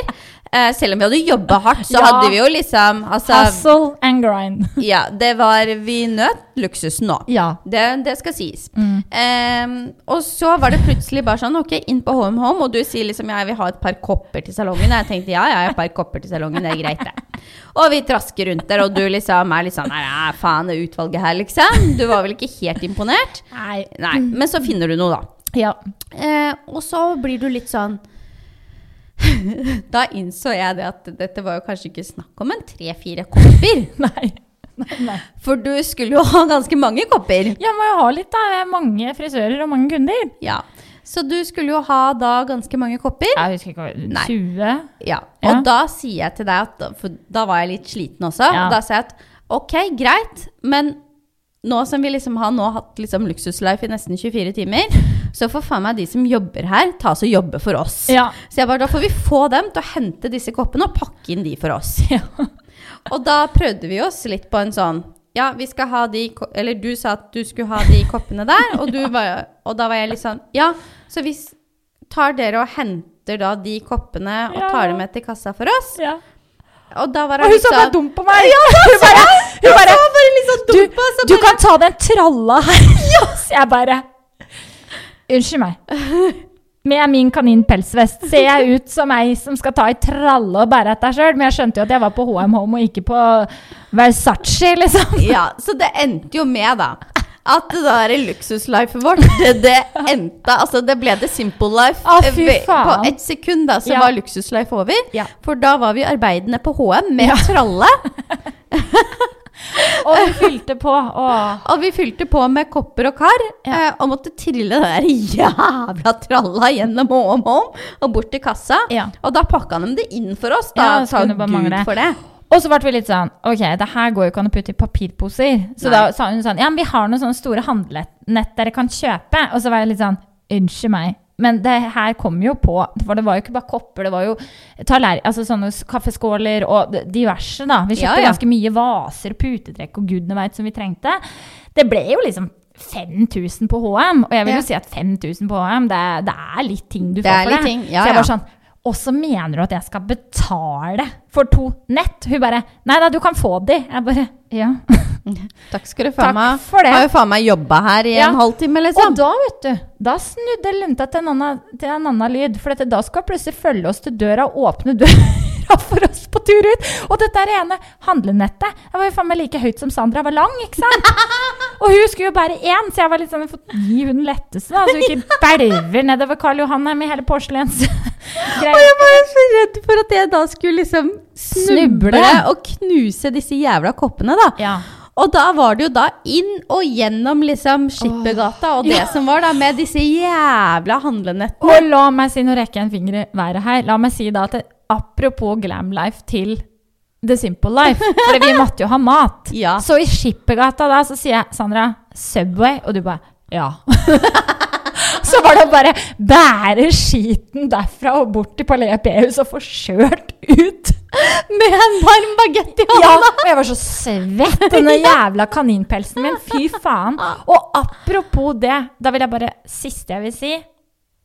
B: Eh, selv om vi hadde jobba hardt, så
C: Ja.
B: hadde vi jo liksom Altså,
C: Hustle and grind.
B: ja, det var Vi nøt luksusen nå.
C: Ja.
B: Det, det skal sies.
C: Mm.
B: Ehm, og så var det plutselig bare sånn, ok, inn på HM Home, og du sier liksom, jeg vil ha et par kopper til salongen. Og jeg tenkte, ja, ja, et par kopper til salongen, det er greit det. Og vi trasker rundt der, og du liksom er litt sånn, nei, nei, faen, det utvalget her, liksom. Du var vel ikke helt imponert?
C: Nei.
B: Nei, men så finner du noe da.
C: Ja.
B: Eh, og så blir du litt sånn Da innså jeg det at dette var jo kanskje ikke snakk om en tre-fire kopper.
C: Nei. Nei, nei.
B: For du skulle jo ha ganske mange kopper.
C: Jeg må jo ha litt, da. Jeg har Mange frisører og mange kunder.
B: Ja. Så du skulle jo ha da ganske mange kopper.
C: Jeg husker ikke hva
B: Nei.
C: 20?
B: Ja. Og
C: Ja.
B: da sier jeg til deg at For da var jeg litt sliten også.
C: Ja.
B: Og da sier jeg at ok, greit, men nå som vi liksom har nå hatt liksom luksuslife i nesten 24 timer, så får faen meg de som jobber her, ta oss og jobbe for oss.
C: Ja.
B: Så jeg bare, da får vi få dem til å hente disse koppene og pakke inn de for oss.
C: Ja.
B: Og da prøvde vi oss litt på en sånn Ja, vi skal ha de ko- Eller du sa at du skulle ha de koppene der, og, du var, og da var jeg litt sånn Ja, så hvis tar dere og henter da de koppene og
C: Ja.
B: tar dem med til kassa for oss?
C: ja.
B: Og da var
C: Og
B: hun
C: hun så bare
B: sånn
C: dum på meg. hun bare, hun bare, sånn, du, du kan ta den tralla her. Så jeg bare Unnskyld meg. Med min kaninpelsvest ser jeg ut som ei som skal ta ei tralle og bære etter sjøl, men jeg skjønte jo at jeg var på HM Home og ikke på Versace, liksom.
B: Ja, så det endte jo med, da. At det der luksuslifet vårt, det, det endte Altså, det ble the simple life.
C: Å, fy
B: Eh, På
C: faen.
B: ett sekund da, så
C: Ja.
B: var luksuslife over.
C: Ja.
B: For da var vi arbeidende på HM med tralle.
C: Og vi fylte på. Åh.
B: Og vi fylte på med kopper og kar, eh, og måtte trille det der jævla tralla gjennom og om og om, og bort til kassa.
C: Ja.
B: Og da pakka de det inn for oss,
C: Ja,
B: da.
C: det
B: sa
C: skulle bare
B: Gud
C: mangle.
B: for det.
C: Og så ble vi litt sånn Ok, det her går jo ikke an å putte i papirposer. Så
B: Nei.
C: da sa hun sånn Ja, men vi har noen sånne store handlenett dere kan kjøpe. Og så var jeg litt sånn Unnskyld meg. Men det her kom jo på For det var jo ikke bare kopper, det var jo taller, altså sånne s- kaffeskåler og d- diverse, da. Vi
B: Ja,
C: kjøpte
B: ja.
C: ganske mye vaser, putetrekk og gudene veit som vi trengte. Det ble jo liksom 5000 på HM, og jeg vil
B: Ja.
C: jo si at 5000 på HM, det, er- det er litt ting du
B: Det
C: får
B: er
C: for
B: litt
C: det.
B: ting, ja,
C: så jeg
B: ja.
C: var sånn Og så mener du at jeg skal betale for to nett? Hun bare Nei da, du kan få de. Jeg bare Ja.
B: Takk skal du
C: sånn, Takk
B: faen meg
C: for det.
B: Har jo faen meg jobba her i
C: Ja.
B: en halvtime,
C: Og
B: liksom.
C: da, vet du, da snudde lunta til en annen, til en annen lyd. For dette, da skal hun plutselig følge oss til døra og åpne døra for oss på tur ut. Og dette er det ene handlenettet. Jeg var jo faen meg like høyt som Sandra var lang, ikke sant? Og hun skulle jo bære én, så jeg var litt sånn Jeg får gi hun den letteste, da. Så hun ikke belver nedover Karl Johan her med hele
B: Og
C: porselensgreia.
B: jeg var så redd for at jeg da skulle liksom
C: Snuble.
B: snuble og knuse disse jævla koppene, da.
C: Ja.
B: Og da var det jo da inn og gjennom liksom Skippergata og det som var, da, med disse jævla handlenettene.
C: Og la meg si, nå rekker jeg en finger i været her, la meg si da at det, apropos glam life til The Simple Life, for vi måtte jo ha mat.
B: Ja.
C: Så i Skippergata da, så sier jeg, Sandra, Subway, og du bare, ja. så var det å bare bære skiten derfra og bort til Palais P-hus og få kjørt ut.
B: Med en varm bagett i
C: Ja,
B: hånda!
C: og jeg var så svett, denne jævla kaninpelsen min. Fy faen. Og apropos det, da vil jeg bare Siste jeg vil si,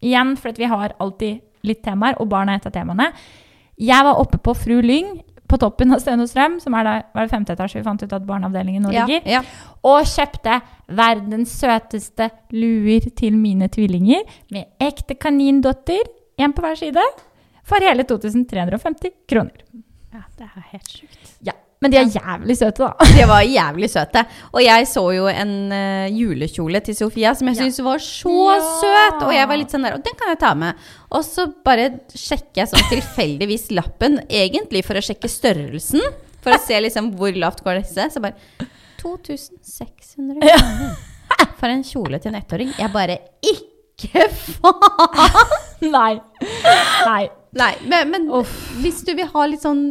C: igjen, for at vi har alltid litt temaer, og barn er et av temaene. Jeg var oppe på Fru Lyng, på toppen av Støen og Strøm, som er da, var det femte etasje vi fant ut at barneavdelingen nå
B: Ja,
C: ligger,
B: ja.
C: og kjøpte verdens søteste luer til mine tvillinger med ekte kanindotter, én på hver side, for hele 2350 kroner.
B: det er helt sjukt.
C: Ja, Men de er jævlig søte, da.
B: De var jævlig søte. Og jeg så jo en eh, julekjole til Sofia som jeg syntes var så
C: Ja.
B: søt! Og jeg var litt sånn der, og den kan jeg ta med. Og så bare sjekker jeg sånn tilfeldigvis lappen, egentlig for å sjekke størrelsen. For å se liksom hvor lavt går disse. Så bare 2600 kroner for en kjole til en ettåring. Jeg bare ikke faen!
C: Nei. Nei.
B: Nei, men, men hvis du vil ha litt sånn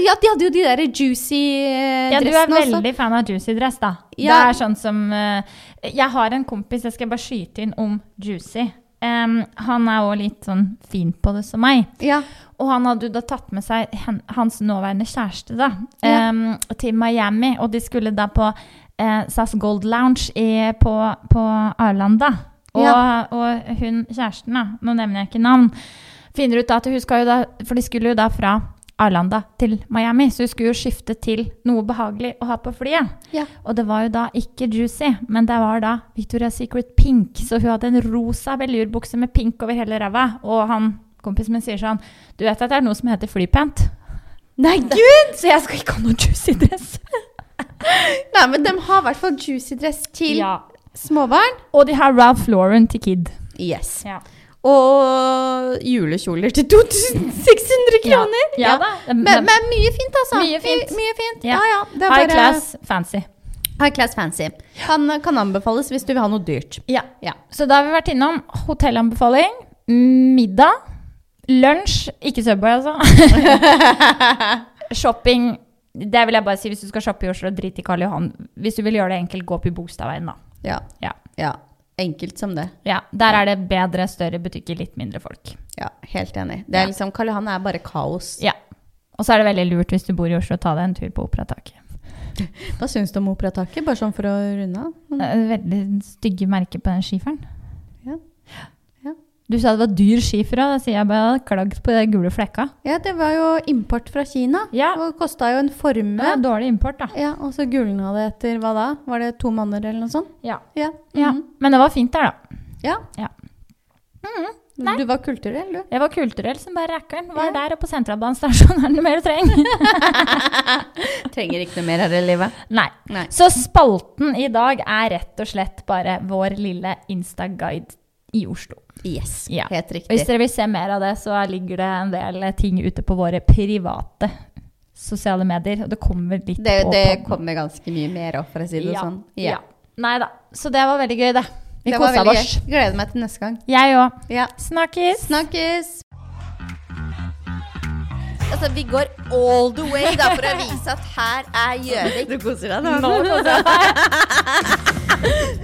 B: Ja, de hadde jo de der juicy eh,
C: Ja, du er
B: dressene også.
C: veldig fan av juicy dress, da. Det
B: Ja.
C: er sånn som eh, Jeg har en kompis, jeg skal bare skyte inn om juicy. Em, han er òg litt sånn fin på det som meg.
B: Ja.
C: Og han hadde jo da tatt med seg hen, hans nåværende kjæreste da,
B: Ja.
C: em, til Miami. Og de skulle da på eh, SAS Gold Lounge i, på, på Arlanda. Og,
B: Ja.
C: og hun kjæresten, da, nå nevner jeg ikke navn, finner ut da at hun skal jo da For de skulle jo da fra Arlanda til Miami, så hun skulle jo skifte til noe behagelig å ha på flyet.
B: Ja.
C: Og det var jo da ikke juicy, men det var da Victoria's Secret pink. Så hun hadde en rosa velurbukse med pink over hele ræva. Og han kompisen min sier sånn Du vet at det er noe som heter flypant?
B: Nei, gud!
C: Så jeg skal ikke ha noe juicy dress.
B: Nei, men de har i hvert fall juicy dress til
C: Ja.
B: småbarn.
C: Og de har Ralph Lauren til kid.
B: Yes.
C: Ja.
B: Og julekjoler til 2600 kroner.
C: Ja, da.
B: Men, men mye fint, altså.
C: Mye fint.
B: My- Mye fint.
C: Ja.
B: Ja, ja. Det er
C: High
B: bare-
C: class, fancy.
B: High class fancy. Kan, kan anbefales hvis du vil ha noe dyrt. Ja.
C: Så da har vi vært innom hotellanbefaling, middag, lunsj Ikke Subway, altså. Shopping. Det vil jeg bare si hvis du skal shoppe i Oslo, drit i Karl Johan. Hvis du vil gjøre det enkelt, gå opp i Bogstadveien, da.
B: Ja.
C: Ja.
B: ja. Enkelt som det.
C: Ja, Der er det bedre, større butikker, litt mindre folk.
B: Ja, helt enig. Det er liksom, Karl Johan er bare kaos.
C: Ja. Og så er det veldig lurt hvis du bor i Oslo, å ta deg en tur på Operataket.
B: Hva syns du om operataket, bare sånn for å runde av?
C: Det er Veldig stygge merker på den skiferen.
B: Ja. Ja.
C: Du sa det var dyr skifer òg, da sier jeg bare jeg hadde klagd på de gule flekka.
B: Ja, det var jo import fra Kina.
C: Ja.
B: Og kosta jo en
C: Det
B: formue.
C: er dårlig import, da.
B: Ja, og så gulna det etter hva da? Var det to måneder eller noe sånt?
C: Ja.
B: Ja.
C: ja.
B: Mhm.
C: Men det var fint der, da.
B: ja.
C: Ja.
B: Du var kulturell, du.
C: Jeg var kulturell som bare rakkeren. Var
B: Ja.
C: der og på Sentralbanen stasjon er det mer du trenger.
B: Trenger ikke noe mer her i livet.
C: Nei.
B: Nei.
C: Så spalten i dag er rett og slett bare vår lille Insta-guide i Oslo.
B: Yes,
C: Ja.
B: helt riktig.
C: Hvis dere vil se mer av det, så ligger det en del ting ute på våre private sosiale medier. Og det kommer litt
B: Det,
C: på
B: det
C: podden.
B: kommer ganske mye mer opp, for å si det
C: ja.
B: sånn.
C: Ja. Nei da. Så det var veldig gøy, det. Vi
B: Det var
C: kosa
B: veldig
C: oss.
B: gøy. Gleder meg til neste gang.
C: Jeg òg.
B: Ja.
C: Snakkes.
B: Snakkes!
A: Altså, vi går all the way da, for å vise at her er Gjøvik.
B: Du koser deg
C: Nå koser jeg meg.